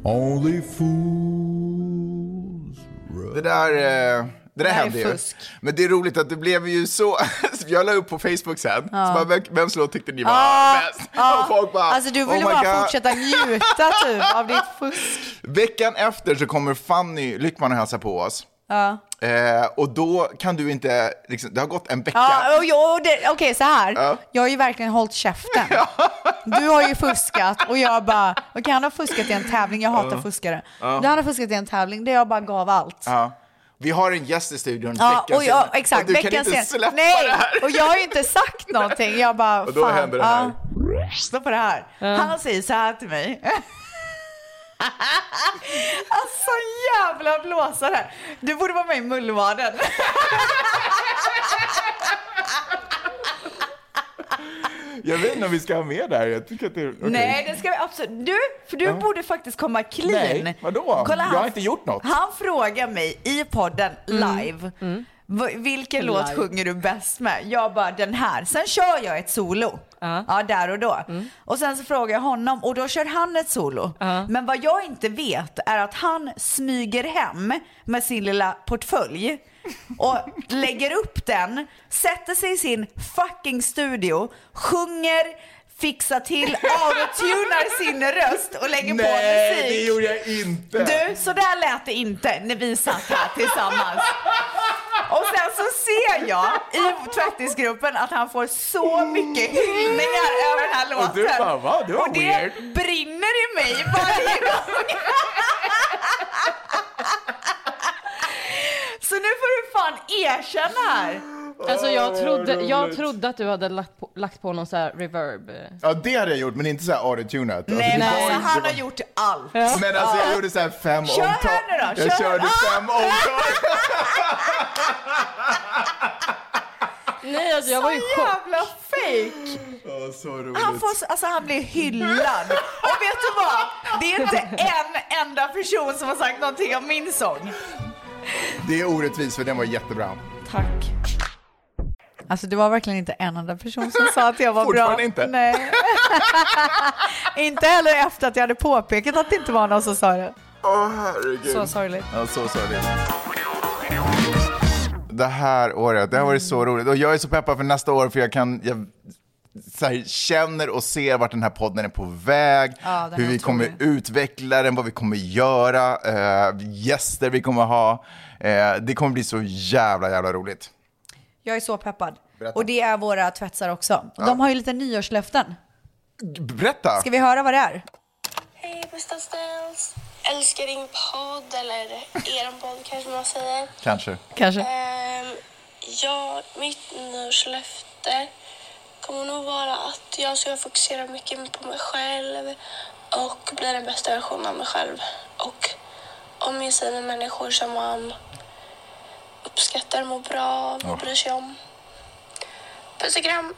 P: only fools
A: Det där, eh, det där
P: här är
A: hände ju.
P: fusk.
A: Men det är roligt att det blev ju så. Jag la upp på Facebook sen.
O: Ja.
A: Så bara, vem, vems låt tyckte ni var
O: Ah,
A: bäst?
O: ah.
A: Och folk bara, "Oh
O: Alltså du ville
A: my
O: bara
A: God."
O: fortsätta njuta typ av ditt fusk.
A: Veckan efter så kommer Fanny Lyckman och hälsar på oss.
O: Ja.
A: Eh, och då kan du inte, liksom, det har gått en vecka.
O: Ja, och jag- det- Okej, så här.
A: Ja.
O: Jag har ju verkligen hållit käften. Du har ju fuskat och jag bara, okej han har fuskat i en tävling, jag hatar
A: Ja.
O: fuskare.
A: Ja.
O: Du han har fuskat i en tävling där jag bara gav allt.
A: Ja. Vi har en gäst i studion
O: Ja,
A: veckan
O: och jag,
A: senare.
O: exakt,
A: och du kan
O: veckan
A: inte
O: sen-
A: släppa
O: Nej,
A: det här.
O: och jag har ju inte sagt någonting. Jag bara,
A: Och då
O: fan,
A: händer det här.
O: ja. Lyssna på det här.
B: Han säger så här till mig. alltså jävla blåsare! Du borde vara med i Mullvaden.
A: Jag vet inte om vi ska ha med det här. Jag tycker att det, okej.
B: Nej, det ska vi absolut. Du, för du
A: Ja.
B: borde faktiskt komma clean.
A: Nej, vadå?
B: Kolla,
A: jag har inte gjort något.
B: Han frågar mig i podden live. v- Vilken
O: Live.
B: låt sjunger du bäst med? Jag bara den här. Sen kör jag ett solo. Ja, där och då. Och sen så frågar jag honom och då kör han ett solo. Men vad jag inte vet är att han smyger hem med sin lilla portfölj och lägger upp den, sätter sig i sin fucking studio, sjunger, fixar till, autotunar sin röst och lägger på
A: Nej,
B: musik.
A: det gjorde jag inte.
B: Du, så där lät det inte när vi satt här tillsammans. Och sen så ser jag i tvättisgruppen att han får så mycket hyllningar över den här låten.
A: Och du bara, va? Det var
B: Och det
A: weird.
B: brinner i mig varje gång. Så nu får du fan erkänna här.
Q: Alltså jag trodde, jag trodde att du hade lagt på, lagt på någon så här reverb.
A: Ja, det hade jag gjort, men inte så här autotunat. Alltså,
B: Nej,
A: det
B: men
A: var
B: alltså,
A: inte-
B: han har gjort allt.
A: Men alltså jag
B: Ja.
A: gjorde så här fem
B: Kör
A: omtag.
B: här nu då,
A: Jag
B: kör. Ah!
A: körde fem omtag.
Q: Nej alltså jag var ju i
B: Så
Q: chock.
B: jävla fake.
A: Åh, så roligt.
B: Han, får, så- alltså, han blir hyllad. Och vet du vad? Det är inte en enda person som har sagt någonting om min sång.
A: Det är orättvist för den var jättebra.
B: Tack. Alltså det var verkligen inte en enda person som sa att jag var bra.
A: Fortfarande inte.
B: Nej. inte heller efter att jag hade påpekat att det inte var någon som sa det.
A: Åh herregud.
B: Så sorgligt.
A: Ja, så sorgligt. Det här året, det har varit
O: Mm.
A: så roligt. Och jag är så peppad för nästa år för jag kan, jag så här, känner och ser vart den här podden är på väg.
O: Ja, den är
A: hur vi
O: otrolig.
A: kommer utveckla den, vad vi kommer göra, eh, gäster vi kommer ha. Eh, det kommer bli så jävla, jävla roligt.
O: Jag är så peppad.
A: Berätta.
O: Och det är våra tvättsar också.
A: Ja.
O: De har ju lite nyårslöften.
A: Berätta!
O: Ska vi höra vad det är?
N: Hej bästa Stens. Älskar din podd, eller er podd kanske man säger.
A: Kanske.
O: Kanske.
N: Ehm, ja, mitt nyårslöfte kommer nog vara att jag ska fokusera mycket på mig själv och bli den bästa versionen av mig själv och omge sig med människor som man uppskattar, mår bra,
A: Ja.
N: bryr sig om. Puss och kram!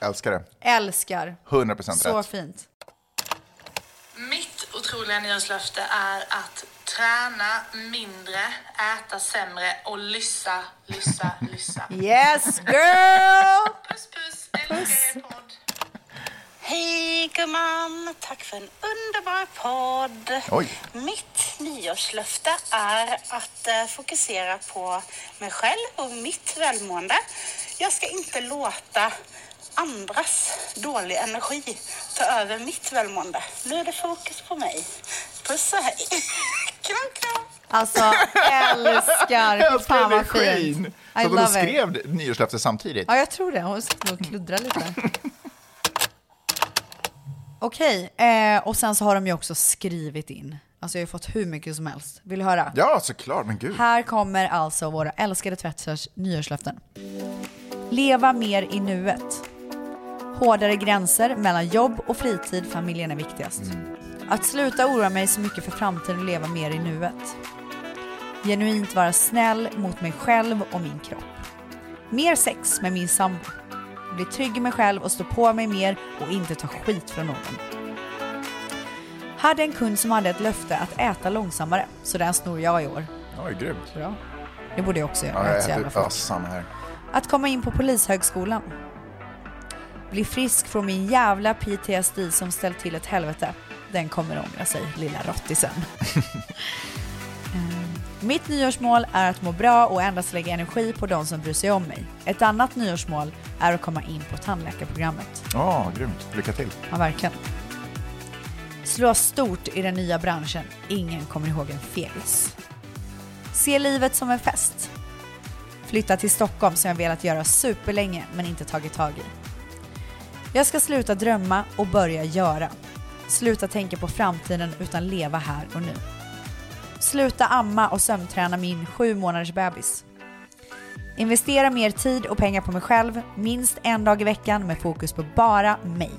A: Älskar det.
B: Älskar.
A: 100 procent
B: Så
A: rätt.
B: fint.
R: Mitt otroliga nyårslöfte är att träna mindre, äta sämre och lyssa, lyssa, lyssa.
B: Yes girl!
R: Puss, puss, älskar er podd.
S: Hej gumman! Tack för en underbar podd.
A: Oj.
S: Mitt nyårslöfte är att eh, fokusera på mig själv och mitt välmående. Jag ska inte låta andras dålig energi ta över mitt välmående. Nu är det fokus på mig. Puss och hej! kram, kram!
B: Alltså älskar. Fy fan vad fint. I
A: Så de
B: love it.
A: skrev nyårslöfte samtidigt?
B: Ja, jag tror det. Hon sitter nog och kluddrar lite. Okej, eh, och sen så har de ju också skrivit in. Alltså jag har ju fått hur mycket som helst. Vill du höra?
A: Ja, såklart. Men gud.
B: Här kommer alltså våra älskade tvätters nyårslöften. Leva mer i nuet. Hårdare gränser mellan jobb och fritid, familjen är viktigast. Att sluta oroa mig så mycket för framtiden och leva mer i nuet. Genuint vara snäll mot mig själv och min kropp. Mer sex med min sambo. Bli trygg i mig själv och stå på mig mer och inte ta skit från någon. Hade en kund som hade ett löfte att äta långsammare, så den snor jag i år.
A: Oj, grymt.
B: Bra. Det borde jag också göra.
A: Ja,
B: jag är
A: jag
B: så jävla
A: äter,
B: full.
A: ja, samma här.
B: Att komma in på Polishögskolan. Bli frisk från min jävla PTSD som ställt till ett helvete. Den kommer ångra sig, lilla rottisen. Ehm, Mitt nyårsmål är att må bra och endast lägga energi på de som bryr sig om mig. Ett annat nyårsmål är att komma in på tandläkarprogrammet.
A: Ja, grymt. Lycka till.
B: Ja, verkligen. Slå stort i den nya branschen. Ingen kommer ihåg en fegis. Se livet som en fest. Flytta till Stockholm som jag velat göra superlänge men inte tagit tag i. Jag ska sluta drömma och börja göra. Sluta tänka på framtiden utan leva här och nu. Sluta amma och sömnträna min sju månaders bebis. Investera mer tid och pengar på mig själv, minst en dag i veckan med fokus på bara mig.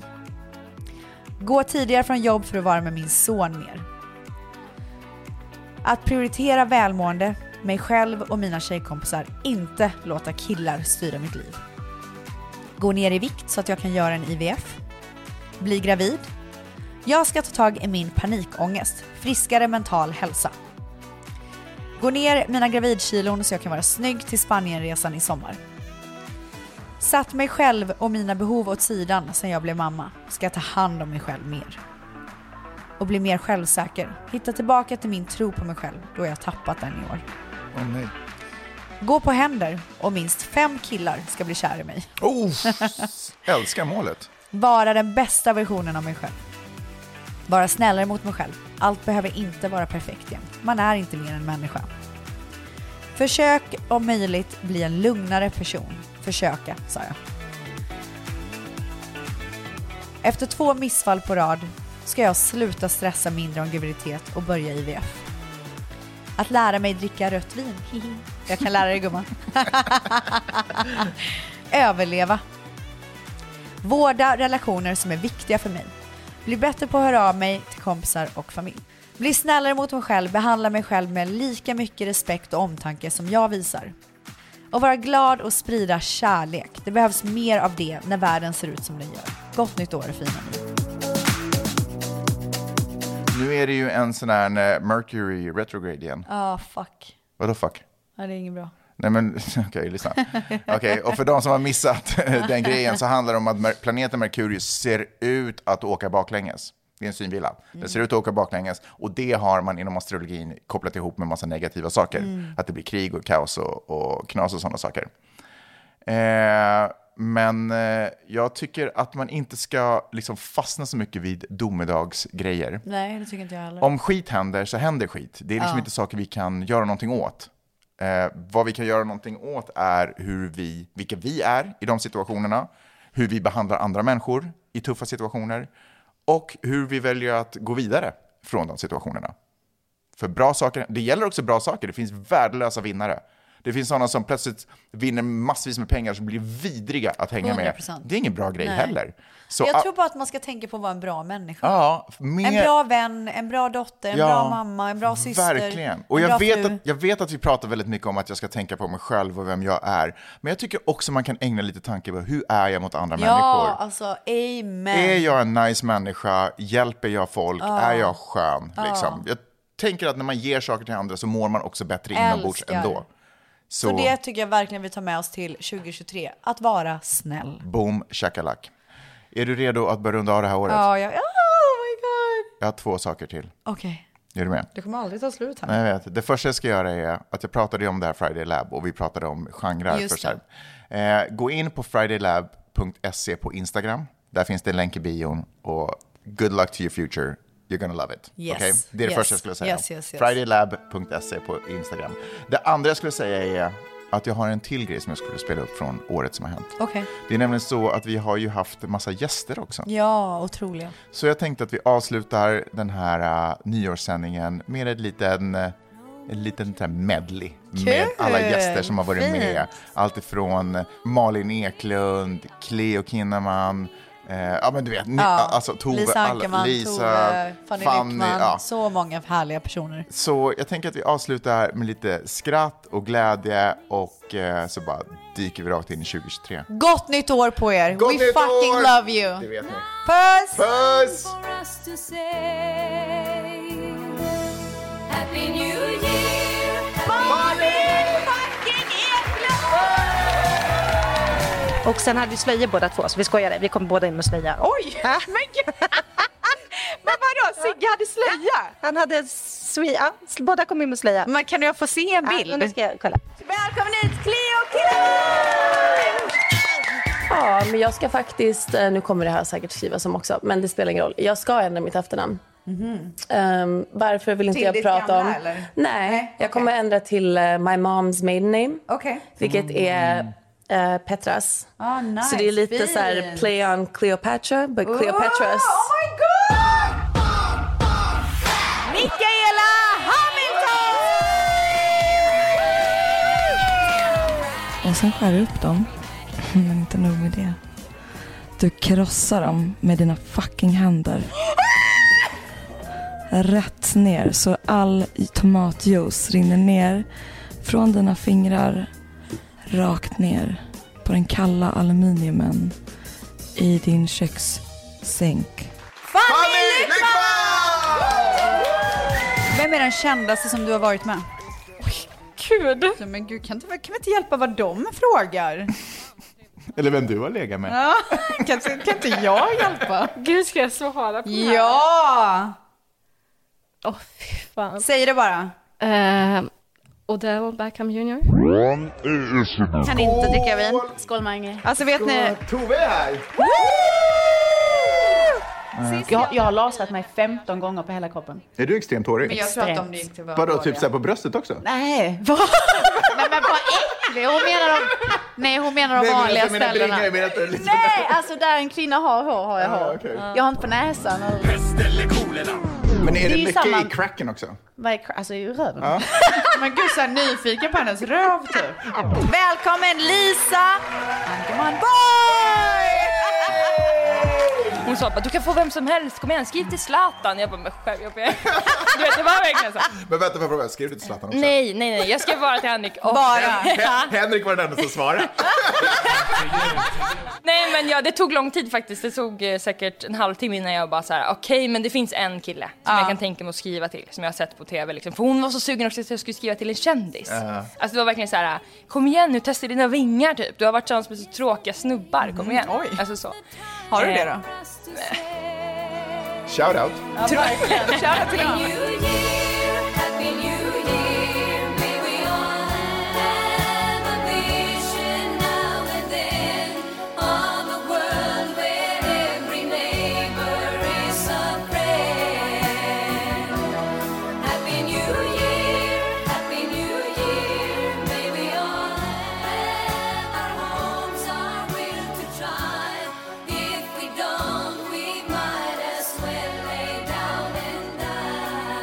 B: Gå tidigare från jobb för att vara med min son mer. Att prioritera välmående, mig själv och mina tjejkompisar, inte låta killar styra mitt liv. Gå ner i vikt så att jag kan göra en IVF. Bli gravid. Jag ska ta tag i min panikångest, friskare mental hälsa. Gå ner mina gravidkilon så jag kan vara snygg till Spanienresan i sommar. Satt mig själv och mina behov åt sidan sen jag blev mamma. Ska ta hand om mig själv mer. Och bli mer självsäker. Hitta tillbaka till min tro på mig själv då jag tappat den i år.
A: Åh nej.
B: Gå på händer och minst fem killar ska bli kär i mig.
A: Oh, älskar målet.
B: Vara den bästa versionen av mig själv. Vara snällare mot mig själv. Allt behöver inte vara perfekt jämt. Man är inte mer än människa. Försök om möjligt bli en lugnare person. Försöka, sa jag. Efter två missfall på rad ska jag sluta stressa mindre om graviditet och börja IVF. Att lära mig dricka rött vin. Hihi. Jag kan lära dig gumman. Överleva. Vårda relationer som är viktiga för mig. Bli bättre på att höra av mig till kompisar och familj. Bli snällare mot mig själv, behandla mig själv med lika mycket respekt och omtanke som jag visar. Och vara glad och sprida kärlek. Det behövs mer av det när världen ser ut som den gör. Gott nytt år fina ni.
A: Nu är det ju en sån här eh, Mercury retrograde igen.
B: Ah fuck.
A: Vadå fuck?
B: Ja, det är inget bra.
A: Nej men okej, lyssna. Okej, och för de som har missat den grejen så handlar det om att mer- planeten Merkurius ser ut att åka baklänges. Det är en synvilla. Den ser ut att åka baklänges och det har man inom astrologin kopplat ihop med massa negativa saker.
T: Mm.
A: Att det blir krig och kaos och, och knas och sådana saker. Eh, men eh, jag tycker att man inte ska liksom fastna så mycket vid domedagsgrejer.
B: Nej, det tycker inte jag heller.
A: Om skit händer så händer skit. Det är liksom
B: Ja.
A: inte saker vi kan göra någonting åt. Eh, vad vi kan göra någonting åt är hur vi, vilka vi är i de situationerna, hur vi behandlar andra människor i tuffa situationer och hur vi väljer att gå vidare från de situationerna. För bra saker, det gäller också bra saker, det finns värdelösa vinnare. Det finns sådana som plötsligt vinner massvis med pengar som blir vidriga att hänga med.
B: 100%.
A: Det är ingen bra grej
B: Nej.
A: heller. Så,
B: jag
A: ah,
B: tror bara att man ska tänka på att vara en bra människa.
A: ja, mer-
B: En bra vän, en bra dotter, en
A: Ja,
B: bra mamma, en bra syster.
A: Verkligen. Och
B: en bra
A: jag vet,
B: fru.
A: att, jag vet att vi pratar väldigt mycket om att jag ska tänka på mig själv och vem jag är. Men jag tycker också man kan ägna lite tanke på hur är jag mot andra
B: Ja,
A: människor?
B: alltså amen.
A: Är jag en nice människa? Hjälper jag folk?
B: Ja.
A: Är jag skön?
B: Ja.
A: Liksom. Jag tänker att när man ger saker till andra så mår man också bättre inombords
B: Älskar.
A: ändå.
B: Så. det tycker jag verkligen vi tar med oss till 2023. Att vara snäll.
A: boom shakalak. Är du redo att börja runda av det här året?
B: Ja, jag, oh my god.
A: Jag har två saker till.
B: Okej,
A: Är du med?
B: det kommer aldrig ta slut här.
A: Nej, jag vet. Det första jag ska göra är att jag pratade ju om det här Friday Lab och vi pratade om genrer.
B: Just
A: För så här. Eh, gå in på fridaylab.se på Instagram. Där finns det en länk i bion och good luck to your future. You're gonna love it.
B: Yes,
A: Okej? Det är det
B: yes,
A: första jag skulle säga.
B: yes, yes, yes.
A: Fridaylab.se på Instagram. Det andra jag skulle säga är att jag har en till grej som jag skulle spela upp från året som har hänt.
B: Okej.
A: Det är nämligen så att vi har ju haft massa gäster också.
B: Ja, otroliga.
A: Så jag tänkte att vi avslutar den här uh, nyårssändningen med en liten, eh, en liten så här medley med alla gäster som har varit
B: Fint.
A: med. Allt ifrån äh, Malin Eklund, Cleo Kinnaman, eh, ja men du vet, ni,
B: Ja,
A: alltså Tove,
B: Lisa
A: alla-
B: Ankerman,
A: Lisa,
B: Tove, Fanny, Lyckman,
A: ja.
B: så många härliga personer.
A: Så jag tänker att vi avslutar med lite skratt och glädje och eh, så bara dyker vi rakt in i 2023.
B: Gott nytt år på er!
A: Gott
B: We
A: nytt
B: fucking
A: år!
B: love you!
A: Det vet ni.
B: Puss!
A: Puss!
D: for us to say. Happy New Year!
T: Och sen hade vi slöjor båda två, så vi skojade. Vi kom båda in med slöja.
U: Oj, men gud. Men vadå, Sigge hade slöja?
T: Han hade swe- ja, s- båda kom in med slöja.
B: Men kan jag få se en
T: Ja, nu ska jag kolla.
U: Välkommen hit Cleo Killen!
R: Ja, men jag ska faktiskt, eh, nu kommer det här säkert skrivas som också, men det spelar ingen roll. Jag ska ändra mitt efternamn.
B: Mhm.
R: Ehm, varför vill inte
U: Till
R: jag
U: ditt
R: prata
U: gamla,
R: om...
U: eller?
R: Nej, jag kommer ändra till eh, my mom's maiden name.
U: Okej.
R: Vilket är eh, Petras.
U: Ah, nice.
R: Så det är lite så här
U: Fint.
R: play on Cleopatra, but Cleopatras.
U: Oh my god! Mikaela Hamilton!
V: Och sen skär du upp dem. Men inte nog med det. Du krossar dem med dina fucking händer. Rätt ner så all tomatjuice rinner ner från dina fingrar rakt ner på den kalla aluminiumen i din kökssänk.
B: Fanny Lyckman! Vem är den kändaste som du har varit med? Gud! Men gud, kan, inte, kan vi inte hjälpa vad de frågar?
A: Eller vem du har legat med.
B: Ja, kan, inte- kan inte jag hjälpa?
W: Gud, ska jag svara på det här?
B: Ja!
W: Åh, fy fan.
B: Säg det bara.
U: Oh!
W: Eh, Odell Beckham Jr.
A: Kan
W: dricka vin. Skål Mange.
B: Alltså vet ni...
A: Tove är här!
W: Jag, jag har lasrat mig 15 gånger på hela kroppen.
A: Är du extremt hårig?
W: Men jag tror att om det gick till våra
A: Vadå,
W: håriga.
A: typ så här på bröstet också?
W: Nej, vad? Nej men vad äcklig! Hon menar de, nej, hon menar de
A: Nej, men
W: vanliga
A: jag menar
W: ställena.
A: bringa, jag menar att det är lite-
W: nej, alltså där en kvinna har hår har jag hår. Jag har inte på näsan. Och...
A: Men är
W: Det
A: det,
W: är ju
A: mycket
W: samma-
A: i cracken också?
W: Vad är, alltså i röven.
A: Ja.
W: men gud så nyfiken på hennes röv typ.
B: Välkommen Lisa Ankerman Borg!
X: Hon sa bara, du kan få vem som helst, kom igen skriv till Zlatan. Jag bara, men själv, jag ber." Du vet, det var verkligen så.
A: Men vänta, får jag fråga, skrev du till Zlatan också?
X: Nej, nej, nej, jag skrev bara till Henrik. Och...
A: Hen- Henrik var den enda som svarade.
X: nej men ja, det tog lång tid faktiskt. Det tog eh, säkert en halvtimme innan jag bara så här, okej men det finns en kille som jag kan tänka mig att skriva till. Som jag har sett på TV liksom. För hon var så sugen också att jag skulle skriva till en kändis.
W: Ja.
X: Alltså det var verkligen så här, kom igen nu, testa dina vingar typ. Du har varit tillsammans med så tråkiga snubbar, kom igen. Oj. Alltså så.
B: Mm. Har du
X: Eh,
B: det då?
A: Shout out.
B: Tror- Shoutout till
D: Happy
B: honom.
D: New Year, Happy New Year. May we all have a vision now and then of a world where every neighbor is a friend. Happy New Year, Happy New Year. May we all have our homes, our will to try. If we don't, we might as well lay down and die.